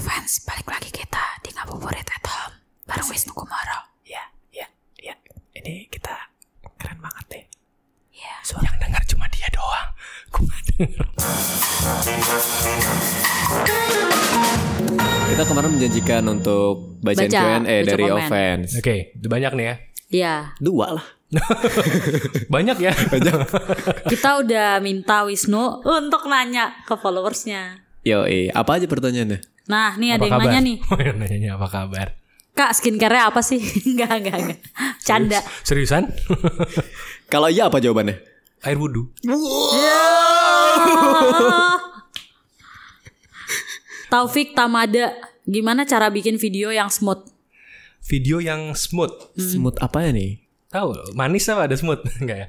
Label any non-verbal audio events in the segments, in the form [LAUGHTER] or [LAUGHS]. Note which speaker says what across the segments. Speaker 1: fans, balik lagi kita di Ngabuburit at Home bareng Wisnu Kumoro.
Speaker 2: Ya, ya, ya. Ini kita keren banget deh.
Speaker 1: Ya.
Speaker 2: Suara yang dengar cuma dia doang. Gua nggak denger.
Speaker 3: Kita kemarin menjanjikan untuk bacaan
Speaker 1: Baca,
Speaker 3: Q&A
Speaker 1: baca
Speaker 3: dari
Speaker 1: komen.
Speaker 3: Offense.
Speaker 2: Oke, banyak nih ya.
Speaker 1: Iya,
Speaker 3: Dua lah.
Speaker 2: Banyak ya.
Speaker 1: kita udah minta Wisnu untuk nanya ke followersnya.
Speaker 3: Yo, apa aja pertanyaannya?
Speaker 1: Nah, nih ada yang nanya nih,
Speaker 2: Oh, yang nanyanya apa kabar?
Speaker 1: Kak skincare-nya apa sih? [LAUGHS] enggak, enggak, enggak. Canda.
Speaker 2: Seriusan? [LAUGHS]
Speaker 3: Kalau iya apa jawabannya?
Speaker 2: Air wudhu.
Speaker 1: [LAUGHS] Taufik Tamada, gimana cara bikin video yang smooth?
Speaker 2: Video yang smooth.
Speaker 1: Hmm.
Speaker 3: Smooth apa nih?
Speaker 2: Tahu, manis apa ada smooth? [LAUGHS] Enggak ya.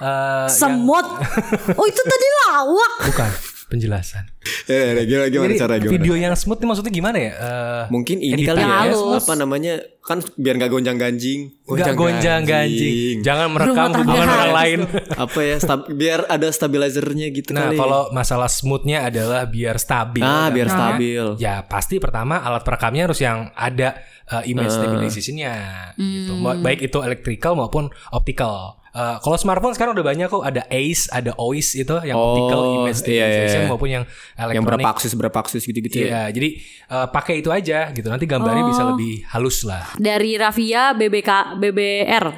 Speaker 2: Eh,
Speaker 1: Semut? Oh itu tadi lawak.
Speaker 2: [LAUGHS] bukan penjelasan.
Speaker 3: Ya, ya, gimana, gimana
Speaker 2: Jadi
Speaker 3: cara gimana?
Speaker 2: video yang smooth ini maksudnya gimana ya? Eh,
Speaker 3: Mungkin ini
Speaker 2: editan
Speaker 3: kali
Speaker 1: yang
Speaker 3: ya,
Speaker 1: halus.
Speaker 3: apa namanya? Kan biar nggak gonjang ganjing.
Speaker 2: Enggak gonjang ganjing. Jangan merekam
Speaker 1: Rumah tangga
Speaker 2: hubungan orang
Speaker 1: harus.
Speaker 2: lain.
Speaker 3: [LAUGHS] apa ya? stab- biar ada stabilizernya gitu
Speaker 2: Nah,
Speaker 3: kali.
Speaker 2: kalau masalah smoothnya adalah biar stabil. kan?
Speaker 3: ah, biar
Speaker 1: Nah.
Speaker 3: stabil.
Speaker 2: Ya pasti pertama alat perekamnya harus yang ada uh,
Speaker 3: Eh.
Speaker 2: image stabilization-nya gitu.
Speaker 1: Hmm.
Speaker 2: Ba- Baik itu electrical maupun optical. Uh, kalau smartphone sekarang udah banyak kok ada ACE, ada OIS itu yang
Speaker 3: Oh,
Speaker 2: optical image
Speaker 3: iya, iya,
Speaker 2: stabilization
Speaker 3: iya.
Speaker 2: maupun yang
Speaker 3: Yang berapa
Speaker 2: elektronik.
Speaker 3: aksis berapa aksis gitu-gitu. ya.
Speaker 2: Iya, jadi uh, pakai itu aja gitu. Nanti
Speaker 1: Oh.
Speaker 2: gambarnya bisa lebih halus lah.
Speaker 1: dari Rafia BBK BBR.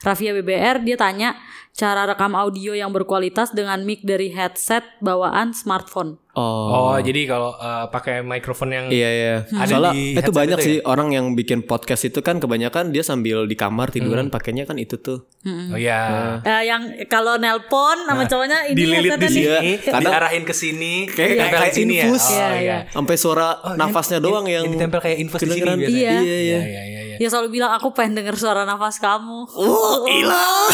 Speaker 1: Rafia BBR dia tanya cara rekam audio yang berkualitas dengan mic dari headset bawaan smartphone.
Speaker 2: Oh,
Speaker 3: Oh.
Speaker 2: jadi kalau uh, pakai microphone yang
Speaker 3: Iya iya.
Speaker 2: Ada
Speaker 3: Soalnya
Speaker 2: di
Speaker 3: itu
Speaker 2: headset
Speaker 3: banyak
Speaker 2: itu ya?
Speaker 3: sih orang yang bikin podcast itu kan kebanyakan dia sambil di kamar tiduran
Speaker 2: Hmm.
Speaker 3: pakainya kan itu tuh.
Speaker 2: Oh
Speaker 3: Iya.
Speaker 2: ya.
Speaker 1: Eh, yang kalau nelpon sama cowoknya ini
Speaker 2: Nah, Dililit di
Speaker 1: headsetnya nih.
Speaker 3: Iya,
Speaker 2: sini,
Speaker 3: kadang-
Speaker 2: diarahin ke sini,
Speaker 3: Kayak-
Speaker 2: ditempel
Speaker 3: kayak- kayak
Speaker 2: di sini
Speaker 3: infus.
Speaker 1: Iya,
Speaker 2: ya. Oh, iya.
Speaker 1: iya.
Speaker 3: Eh, Sampai suara
Speaker 2: Oh,
Speaker 3: nafasnya
Speaker 2: ini-
Speaker 3: doang
Speaker 2: ini-
Speaker 3: yang
Speaker 2: ini ditempel kayak infus di sini
Speaker 3: kedengeran.
Speaker 2: biasanya.
Speaker 1: Iya.
Speaker 3: iya. iya.
Speaker 2: Iya, iya, iya.
Speaker 1: Dia selalu bilang aku pengen denger suara nafas kamu.
Speaker 3: Oh, hilang.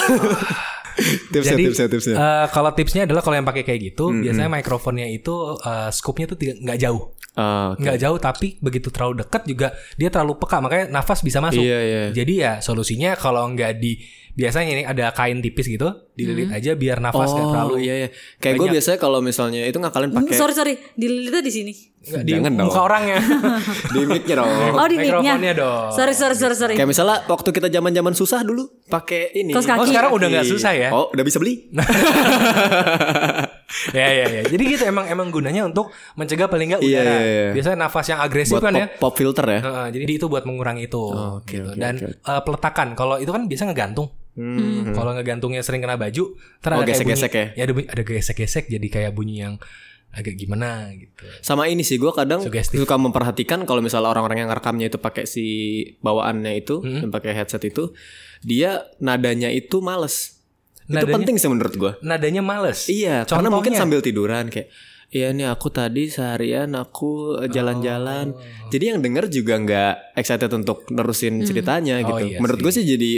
Speaker 3: tipsnya,
Speaker 2: Jadi
Speaker 3: tipsnya, tipsnya.
Speaker 2: eh, kalau tipsnya adalah kalau yang pakai kayak gitu, biasanya mikrofonnya itu eh, scope-nya tuh tidak nggak jauh,
Speaker 3: Ah, oke.
Speaker 2: nggak jauh tapi begitu terlalu dekat juga dia terlalu peka, makanya nafas bisa masuk.
Speaker 3: Iya, iya.
Speaker 2: Jadi ya solusinya kalau nggak di biasanya ini ada kain tipis gitu, dililit aja biar nafas nggak
Speaker 3: Oh,
Speaker 2: terlalu
Speaker 3: iya iya. Kayak gue
Speaker 2: banyak.
Speaker 3: biasanya kalau misalnya itu ngakalin
Speaker 1: Hmm,
Speaker 3: pakai
Speaker 1: sorry sorry, dililitnya di sini.
Speaker 2: nggak di
Speaker 3: Jangan
Speaker 2: muka ya.
Speaker 3: dong. [LAUGHS]
Speaker 2: orangnya.
Speaker 3: di mic-nya
Speaker 2: [LAUGHS]
Speaker 3: dong.
Speaker 1: Oh, di mic-nya.
Speaker 2: Mikrofonnya dong.
Speaker 1: Sorry sorry sorry sorry.
Speaker 3: Kayak misalnya waktu kita zaman-zaman susah dulu pakai ini.
Speaker 1: Kaos kaki.
Speaker 2: Oh sekarang udah nggak susah ya?
Speaker 3: Oh, udah bisa
Speaker 2: [LAUGHS]
Speaker 3: beli.
Speaker 2: ya ya ya. Jadi gitu emang emang gunanya untuk mencegah paling nggak udara.
Speaker 3: Iya, iya, iya.
Speaker 2: Biasanya nafas yang agresif
Speaker 3: Buat
Speaker 2: kan ya.
Speaker 3: pop, pop filter ya.
Speaker 2: Heeh, jadi itu buat mengurangi itu
Speaker 3: Oh, oke,
Speaker 2: gitu.
Speaker 3: oke,
Speaker 2: dan
Speaker 3: oke.
Speaker 2: eh, peletakan kalau itu kan biasa ngegantung
Speaker 3: Hmm.
Speaker 2: kalau ngegantungnya sering kena baju ntar
Speaker 3: Oh,
Speaker 2: ada kayak
Speaker 3: gesek-gesek
Speaker 2: bunyi- Ya, ada, bunyi- ada gesek-gesek jadi kayak bunyi yang agak gimana gitu
Speaker 3: sama ini sih gue kadang
Speaker 2: Sugestif.
Speaker 3: suka memperhatikan kalau misalnya orang-orang yang rekamnya itu pakai si bawaannya itu
Speaker 2: Hmm.
Speaker 3: yang pakai headset itu dia nadanya itu males itu
Speaker 2: Nadanya-
Speaker 3: penting sih menurut gue
Speaker 2: nadanya males
Speaker 3: iya karena
Speaker 2: Contohnya-
Speaker 3: mungkin sambil tiduran kayak Iya nih aku tadi seharian aku eh, jalan-jalan
Speaker 2: Oh.
Speaker 3: Jadi yang denger juga nggak excited untuk nerusin ceritanya
Speaker 2: Oh, iya
Speaker 3: gitu Menurut
Speaker 2: sih.
Speaker 3: gue sih jadi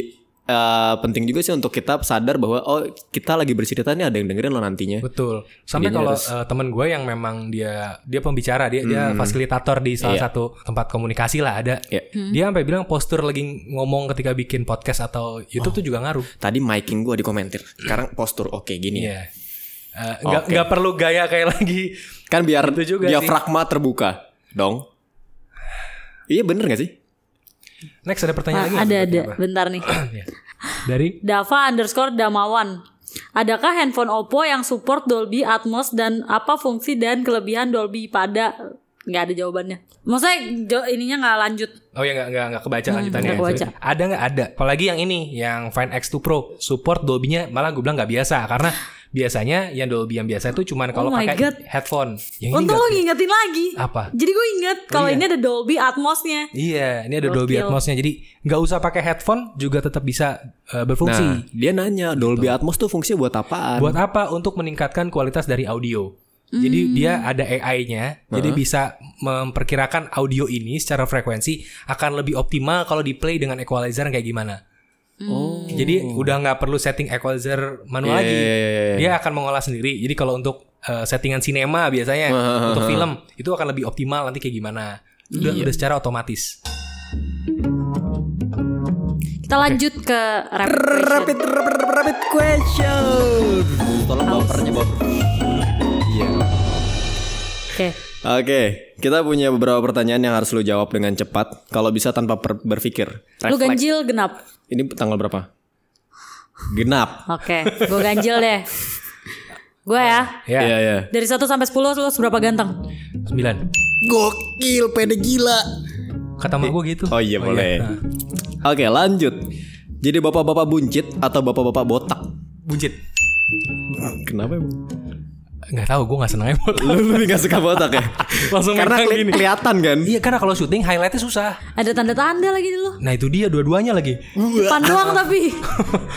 Speaker 3: eh, penting juga sih untuk kita sadar bahwa Oh kita lagi bercerita nih ada yang dengerin loh nantinya
Speaker 2: betul sampai
Speaker 3: Jadinya
Speaker 2: kalau
Speaker 3: harus- Mhm.
Speaker 2: eh, temen gue yang memang dia dia pembicara dia dia fasilitator di salah
Speaker 3: Iya.
Speaker 2: satu tempat komunikasi lah ada
Speaker 3: Iya.
Speaker 2: dia sampai bilang postur lagi ngomong ketika bikin podcast atau
Speaker 3: Oh.
Speaker 2: YouTube tuh juga ngaruh
Speaker 3: Tadi miking gue dikomentir Sekarang postur oke gini ya
Speaker 2: iya Eh, nggak nggak perlu gaya kayak [LAUGHS] lagi
Speaker 3: Kan biar
Speaker 2: Itu Gitu juga
Speaker 3: diafragma terbuka dong. Iya bener gak sih?
Speaker 2: next ada pertanyaan
Speaker 1: Ah,
Speaker 2: lagi nggak
Speaker 1: ada
Speaker 2: sebenarnya,
Speaker 1: ada,
Speaker 2: Mbak?
Speaker 1: bentar nih.
Speaker 2: [CLEARS THROAT] Ya. dari
Speaker 1: Dava underscore Damawan. Adakah handphone Oppo yang support Dolby Atmos dan apa fungsi dan kelebihan Dolby pada nggak ada jawabannya. Maksudnya jo- ininya nggak lanjut.
Speaker 2: Oh ya nggak nggak nggak kebaca lanjutannya.
Speaker 1: nggak kebaca.
Speaker 2: Ada nggak ada. Apalagi yang ini yang Find X2 Pro support Dolby-nya malah gue bilang nggak biasa karena biasanya yang Dolby yang biasa itu cuman kalau
Speaker 1: Oh my
Speaker 2: pakai
Speaker 1: God.
Speaker 2: headphone. Yang ini
Speaker 1: Untung
Speaker 2: nggak.
Speaker 1: lo ngingetin lagi.
Speaker 2: Apa?
Speaker 1: Jadi gue inget kalau
Speaker 2: iya.
Speaker 1: ini ada Dolby Atmosnya.
Speaker 2: Iya, ini ada Dolby
Speaker 1: Gokil.
Speaker 2: Atmos-nya. Jadi nggak usah pakai headphone juga tetap bisa eh, berfungsi.
Speaker 3: Nah, dia nanya Dolby Atmos tuh fungsinya buat apaan?
Speaker 2: Buat apa? Untuk meningkatkan kualitas dari audio. Jadi
Speaker 3: Hmm.
Speaker 2: dia ada AI-nya, jadi bisa memperkirakan audio ini secara frekuensi akan lebih optimal kalau di play dengan equalizer kayak gimana.
Speaker 3: Oh.
Speaker 2: Jadi udah nggak perlu setting equalizer manual
Speaker 3: Iya,
Speaker 2: lagi.
Speaker 3: iya, iya, iya.
Speaker 2: Dia akan mengolah sendiri. Jadi kalau untuk eh, settingan sinema biasanya untuk film itu akan lebih optimal nanti kayak gimana. Udah,
Speaker 3: Iya.
Speaker 2: udah secara otomatis.
Speaker 1: Kita lanjut ke rapid question.
Speaker 3: Rapid, rapid, rapid question. Tolong bapernya baper. Iya.
Speaker 1: Oke.
Speaker 3: Oke, Kita punya beberapa pertanyaan yang harus lu jawab dengan cepat, kalau bisa tanpa per- berpikir.
Speaker 1: Lu
Speaker 3: Refleks.
Speaker 1: ganjil genap.
Speaker 3: Ini tanggal berapa? Genap.
Speaker 1: Oke, gue ganjil deh. Gue ya.
Speaker 2: Ya,
Speaker 3: Iya, iya.
Speaker 1: Dari 1 sampai 10 lu seberapa ganteng?
Speaker 2: sembilan.
Speaker 3: Gokil, pede gila.
Speaker 2: Kata mah gue gitu.
Speaker 3: Oh iya boleh.
Speaker 2: Nah,
Speaker 3: [LAUGHS] Oke, lanjut. Jadi bapak-bapak buncit atau bapak-bapak botak?
Speaker 2: Buncit.
Speaker 3: Kenapa emang?
Speaker 2: Nggak tahu, gue nggak seneng emot.
Speaker 3: Lu lebih gak suka botak ya?
Speaker 2: [LAUGHS] Langsung
Speaker 3: Karena
Speaker 2: menang
Speaker 3: keli-
Speaker 2: gini.
Speaker 3: kelihatan kan?
Speaker 2: Iya karena kalau syuting highlightnya susah.
Speaker 1: Ada tanda-tanda lagi di lu.
Speaker 2: Nah itu dia dua-duanya [LAUGHS] lagi.
Speaker 1: Depan doang tapi.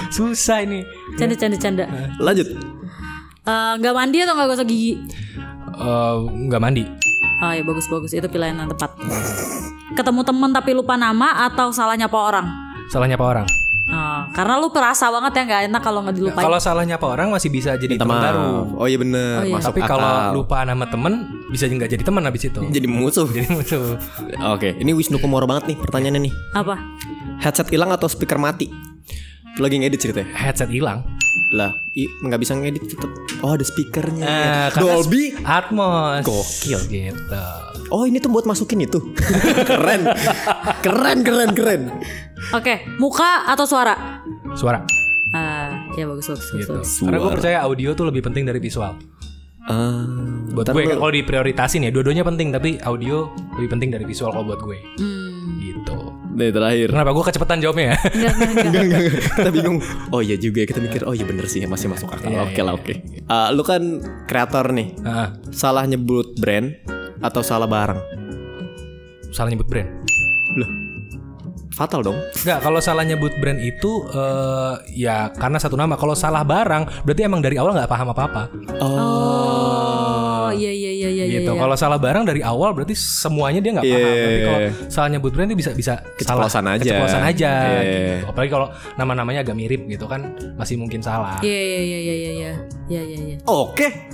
Speaker 2: susah ini.
Speaker 1: Canda canda canda.
Speaker 3: Lanjut.
Speaker 1: Eh, Nggak mandi atau nggak gosok gigi?
Speaker 2: Eh, Nggak mandi.
Speaker 1: Oh ya bagus bagus itu pilihan yang tepat. Ketemu temen tapi lupa nama atau salah nyapa orang?
Speaker 2: Salah nyapa orang.
Speaker 1: Oh, karena lu perasa banget ya nggak enak kalau nggak dilupain.
Speaker 2: Kalau salah nyapa orang masih bisa jadi teman
Speaker 3: Teman.
Speaker 2: baru.
Speaker 3: Oh iya bener.
Speaker 1: Oh, iya.
Speaker 3: Masuk
Speaker 2: Tapi
Speaker 3: akal.
Speaker 2: kalau lupa nama temen bisa nggak jadi teman habis itu.
Speaker 3: jadi musuh.
Speaker 2: Jadi musuh.
Speaker 3: Oke, ini Wisnu Kumoro banget nih pertanyaannya nih.
Speaker 1: Apa?
Speaker 3: Headset hilang atau speaker mati? Lu Lagi ngedit ceritanya.
Speaker 2: Headset hilang.
Speaker 3: Lah, i- nggak bisa ngedit tetap. Oh, ada speakernya.
Speaker 2: Eh, karena
Speaker 3: Dolby.
Speaker 2: Atmos.
Speaker 3: Gokil.
Speaker 2: gitu.
Speaker 3: Oh, ini tuh buat masukin itu. [LAUGHS] keren.
Speaker 2: [LAUGHS]
Speaker 3: Keren, keren, keren.
Speaker 1: Oke, muka atau suara?
Speaker 2: Suara.
Speaker 1: Eh, ya bagus bagus. bagus,
Speaker 2: Gitu.
Speaker 1: bagus.
Speaker 2: Karena gue percaya audio tuh lebih penting dari visual.
Speaker 3: Ah,
Speaker 2: Buat
Speaker 3: ntar
Speaker 2: gue
Speaker 3: lu-
Speaker 2: kalau diprioritasin ya dua-duanya penting tapi audio lebih penting dari visual kalau buat gue.
Speaker 1: Hmm,
Speaker 2: Gitu.
Speaker 3: Nih,
Speaker 2: [LAUGHS]
Speaker 3: terakhir.
Speaker 2: Kenapa gue kecepatan
Speaker 3: [LAUGHS]
Speaker 2: jawabnya ya?
Speaker 1: enggak, enggak, enggak.
Speaker 3: Enggak, enggak, enggak. Kita bingung. Oh iya juga ya, kita mikir. Oh iya bener sih, masih masuk akal.
Speaker 2: Iya,
Speaker 3: oke
Speaker 2: iya,
Speaker 3: lah, oke. Ah, lu kan kreator nih.
Speaker 2: Heeh.
Speaker 3: Salah nyebut brand atau salah barang?
Speaker 2: salah nyebut brand.
Speaker 3: Loh. Fatal dong.
Speaker 2: Enggak, kalau salah nyebut brand itu eh, ya karena satu nama. Kalau salah barang berarti emang dari awal nggak paham apa-apa.
Speaker 1: Oh, iya iya iya iya. iya,
Speaker 2: gitu.
Speaker 1: iya.
Speaker 2: Kalau salah barang dari awal berarti semuanya dia nggak paham.
Speaker 3: Iya.
Speaker 2: Tapi kalau salah nyebut brand dia bisa bisa salah.
Speaker 3: Keceplosan aja.
Speaker 2: Keceplosan aja.
Speaker 3: Iya.
Speaker 2: Gitu. Apalagi kalau nama-namanya agak mirip gitu kan masih mungkin salah.
Speaker 1: Iya iya iya iya iya iya iya iya. iya.
Speaker 3: Oke.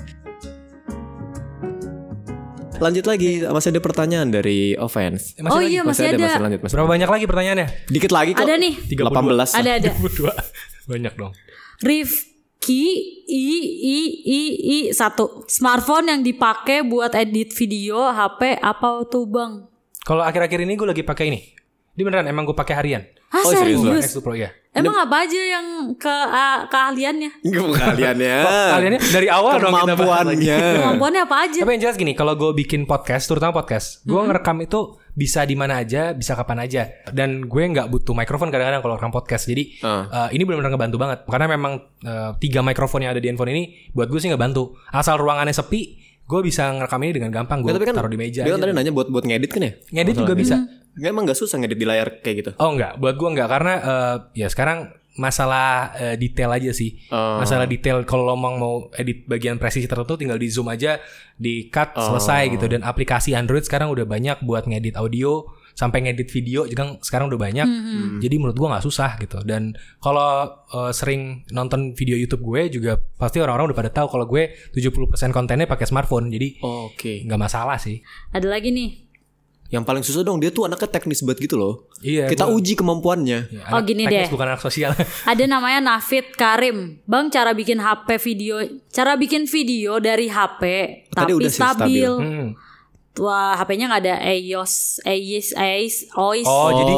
Speaker 3: Lanjut lagi, masih ada pertanyaan dari offense.
Speaker 2: Eh, masih
Speaker 1: oh
Speaker 2: lagi?
Speaker 1: iya masih, ada.
Speaker 3: masih lanjut, masih.
Speaker 2: Berapa banyak lagi pertanyaannya? [LAUGHS]
Speaker 3: Dikit lagi kok.
Speaker 1: Ada nih.
Speaker 2: 32.
Speaker 3: 18.
Speaker 1: Ada ada.
Speaker 2: Dua. banyak dong.
Speaker 1: Rifki i i i i satu smartphone yang dipakai buat edit video HP apa tuh bang?
Speaker 2: Kalau akhir-akhir ini gue lagi pakai ini. Ini beneran emang gue pakai harian.
Speaker 1: Ah
Speaker 3: Oh, serius, Bang?
Speaker 1: serius?
Speaker 2: X2 Pro ya.
Speaker 1: Emang apa aja yang ke a- keahliannya?
Speaker 3: Eh. Kaliannya.
Speaker 2: Kaliannya dari awal dong kita bahas lagi. [LAUGHS]
Speaker 3: Kemampuannya.
Speaker 1: Kemampuannya apa aja?
Speaker 2: Tapi yang jelas gini, kalau gue bikin podcast, terutama podcast, gue
Speaker 3: Hmm.
Speaker 2: ngerekam itu bisa di mana aja, bisa kapan aja, dan gue nggak butuh mikrofon kadang-kadang kalau rekam podcast. Jadi
Speaker 3: Ah.
Speaker 2: eh, ini benar-benar ngebantu banget, karena memang eh, tiga mikrofon yang ada di handphone ini buat gue sih ngebantu. Asal ruangannya sepi, gue bisa ngerekam ini dengan gampang. Gue
Speaker 3: Ya, tapi kan
Speaker 2: taruh di meja.
Speaker 3: Dia kan
Speaker 2: aja.
Speaker 3: tadi nanya buat buat ngedit kan ya?
Speaker 2: Ngedit juga bisa.
Speaker 3: Nggak emang nggak susah ngedit di layar kayak gitu.
Speaker 2: Oh enggak, buat gue enggak karena eh, ya sekarang masalah eh, detail aja sih.
Speaker 3: Oh.
Speaker 2: Masalah detail kalau lo mau mau edit bagian presisi tertentu tinggal di zoom aja, di cut
Speaker 3: Oh.
Speaker 2: selesai gitu dan aplikasi Android sekarang udah banyak buat ngedit audio sampai ngedit video juga sekarang udah banyak.
Speaker 1: Hmm,
Speaker 3: Hmm.
Speaker 2: Jadi menurut gue nggak susah gitu dan kalau eh, sering nonton video YouTube gue juga pasti orang-orang udah pada tahu kalau gue 70% kontennya pakai smartphone. Jadi
Speaker 3: Oke.
Speaker 2: nggak masalah sih.
Speaker 1: Ada lagi nih.
Speaker 3: Yang paling susah dong dia tuh anaknya teknis banget gitu loh.
Speaker 2: Iya,
Speaker 3: Kita
Speaker 2: gua-
Speaker 3: uji kemampuannya.
Speaker 2: Ya,
Speaker 1: Oh,
Speaker 2: anak
Speaker 1: gini
Speaker 2: teknis
Speaker 1: deh.
Speaker 2: bukan anak sosial. [LAUGHS]
Speaker 1: Ada namanya Nafid Karim. Bang, cara bikin HP video, cara bikin video dari HP
Speaker 3: Tadi
Speaker 1: tapi
Speaker 3: udah sih, stabil.
Speaker 1: stabil.
Speaker 2: Hmm.
Speaker 1: Wah, HP-nya nggak ada EOS, EOS, EOS, OIS. Eh,
Speaker 2: Oh, jadi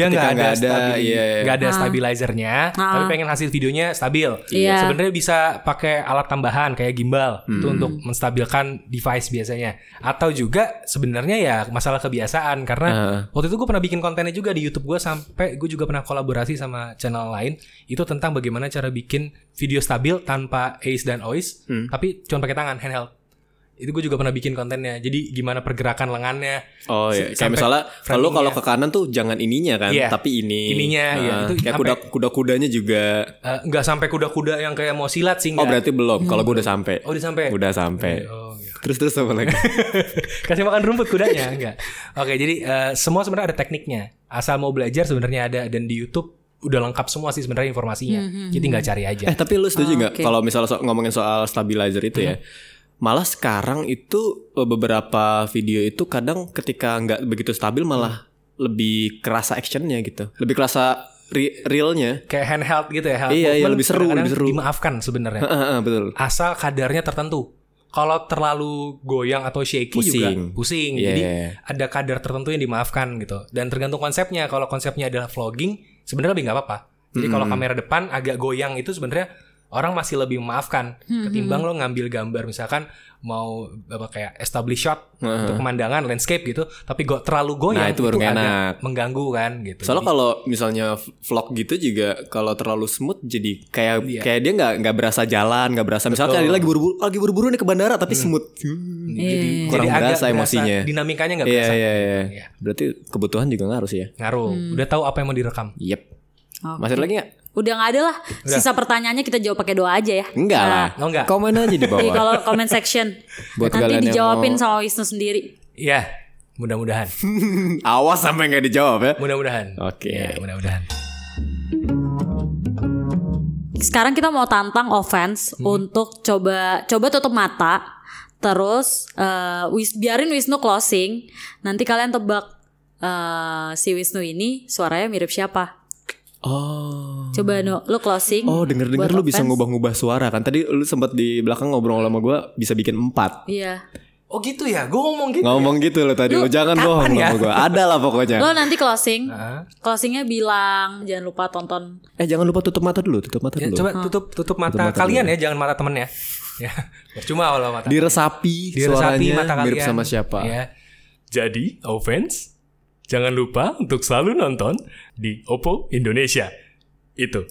Speaker 2: dia
Speaker 3: ketika
Speaker 2: nggak ada,
Speaker 3: nggak ada,
Speaker 2: stabil-
Speaker 3: iya, iya.
Speaker 2: nggak ada stabilizernya, tapi pengen hasil videonya stabil.
Speaker 1: Iya.
Speaker 2: Sebenarnya bisa pakai alat tambahan kayak gimbal itu
Speaker 3: Hmm.
Speaker 2: untuk menstabilkan device biasanya. Atau juga sebenarnya ya masalah kebiasaan karena
Speaker 3: Ah.
Speaker 2: waktu itu gue pernah bikin kontennya juga di YouTube gue sampai gue juga pernah kolaborasi sama channel lain itu tentang bagaimana cara bikin video stabil tanpa ACE dan OIS,
Speaker 3: Hmm.
Speaker 2: tapi cuma pakai tangan handheld. Itu gue juga pernah bikin kontennya. Jadi gimana pergerakan lengannya?
Speaker 3: Oh
Speaker 2: Sampai
Speaker 3: iya, kayak misalnya kalau
Speaker 2: framingnya.
Speaker 3: kalau ke kanan tuh jangan ininya kan,
Speaker 2: Iya.
Speaker 3: tapi ini.
Speaker 2: Ininya,
Speaker 3: Nah,
Speaker 2: iya, itu
Speaker 3: kayak
Speaker 2: sampai-
Speaker 3: kuda kuda kudanya juga.
Speaker 2: Eh, nggak sampai kuda-kuda yang kayak mau silat sih
Speaker 3: Oh
Speaker 2: nggak.
Speaker 3: berarti belum. Kalau gue udah sampai.
Speaker 2: Iya. Oh, udah sampai?
Speaker 3: Udah sampai.
Speaker 2: Oh, iya.
Speaker 3: Terus terus apa lagi?
Speaker 2: [LAUGHS] Kasih makan rumput kudanya enggak. Oke, jadi eh, semua sebenarnya ada tekniknya. Asal mau belajar sebenarnya ada dan di YouTube udah lengkap semua sih sebenarnya informasinya. Jadi tinggal cari aja.
Speaker 3: eh tapi lu setuju
Speaker 1: Oh,
Speaker 3: nggak
Speaker 1: oke. Mm-hmm.
Speaker 3: kalau misalnya so- ngomongin soal stabilizer itu ya? Malah sekarang itu eh, beberapa video itu kadang ketika nggak begitu stabil malah lebih kerasa actionnya gitu, lebih kerasa re- realnya.
Speaker 2: Kayak handheld gitu ya. handheld
Speaker 3: Iya, iya,
Speaker 2: movement
Speaker 3: lebih seru,
Speaker 2: kadang-kadang
Speaker 3: lebih seru.
Speaker 2: Dimaafkan sebenarnya.
Speaker 3: Heeh, heeh, betul.
Speaker 2: Asal kadarnya tertentu. kalau terlalu goyang atau shaky juga
Speaker 3: Pusing.
Speaker 2: pusing.
Speaker 3: Iya,
Speaker 2: Jadi
Speaker 3: iya, iya.
Speaker 2: ada kadar tertentu yang dimaafkan gitu. Dan tergantung konsepnya. Kalau konsepnya adalah vlogging, sebenarnya lebih nggak apa-apa. Jadi kalau kamera depan agak goyang itu sebenarnya orang masih lebih memaafkan ketimbang lo ngambil gambar misalkan mau apa kayak establish shot untuk pemandangan landscape gitu, tapi gak terlalu goyang
Speaker 3: Nah, itu baru nggak
Speaker 2: agak
Speaker 3: enak.
Speaker 2: mengganggu kan gitu.
Speaker 3: Soalnya
Speaker 2: Jadi-
Speaker 3: kalau misalnya vlog gitu juga kalau terlalu smooth jadi kayak
Speaker 2: Iya.
Speaker 3: kayak dia nggak nggak berasa jalan, nggak berasa misalnya dia lagi buru-buru lagi buru-buru nih ke bandara tapi smooth.
Speaker 2: Mm. jadi,
Speaker 1: Iya.
Speaker 3: Kurang
Speaker 2: agak
Speaker 3: berasa emosinya.
Speaker 2: dinamikanya nggak
Speaker 3: Iya
Speaker 2: berasa.
Speaker 3: iya iya.
Speaker 2: Iya.
Speaker 3: Berarti kebutuhan juga ngaruh sih ya.
Speaker 2: Ngaruh. Udah tahu apa yang mau direkam.
Speaker 3: Yep.
Speaker 1: Oke.
Speaker 3: Masih ada lagi nggak?
Speaker 1: oh. Udah nggak ada lah. Sisa pertanyaannya kita jawab pakai doa aja ya.
Speaker 3: Enggak lah.
Speaker 2: oh, enggak.
Speaker 3: Komen aja di
Speaker 1: Jadi
Speaker 2: [LAUGHS]
Speaker 3: bawah.
Speaker 1: kalau comment section
Speaker 3: Buat kalian
Speaker 1: nanti
Speaker 3: yang
Speaker 1: dijawabin
Speaker 3: mau-
Speaker 1: sama Wisnu sendiri.
Speaker 2: Iya,
Speaker 3: [LAUGHS]
Speaker 2: mudah-mudahan.
Speaker 3: Awas sampai nggak dijawab ya.
Speaker 2: Mudah-mudahan.
Speaker 3: Oke.
Speaker 2: Iya, mudah-mudahan.
Speaker 1: Sekarang kita mau tantang offense untuk coba coba tutup mata. Terus eh, wis, biarin Wisnu closing. Nanti kalian tebak eh, si Wisnu ini suaranya mirip siapa?
Speaker 3: Oh.
Speaker 1: Coba no, lu closing.
Speaker 3: Oh
Speaker 1: buat
Speaker 3: denger-denger lu bisa
Speaker 1: offense.
Speaker 3: ngubah-ngubah suara kan Tadi lu sempat di belakang ngobrol sama gue Bisa bikin empat
Speaker 1: Iya.
Speaker 2: Oh gitu ya, gue ngomong gitu.
Speaker 3: Ngomong gitu lo tadi Lu jangan bohong
Speaker 2: ya?
Speaker 3: sama gue Ada lah
Speaker 2: [LAUGHS]
Speaker 3: pokoknya
Speaker 1: Lo nanti closing.
Speaker 2: Heeh.
Speaker 1: Closingnya bilang jangan lupa tonton.
Speaker 3: Eh jangan lupa tutup mata dulu Tutup mata
Speaker 2: Ya,
Speaker 3: dulu
Speaker 2: coba tutup tutup mata,
Speaker 3: Tutup mata
Speaker 2: kalian ya, jangan mata temen ya. [LAUGHS] ya. Percuma kalau mata.
Speaker 3: Diresapi,
Speaker 2: Diresapi
Speaker 3: suaranya
Speaker 2: mata kalian.
Speaker 3: mirip sama siapa
Speaker 2: Iya. Jadi, offense, jangan lupa untuk selalu nonton di Oppo Indonesia. Itu.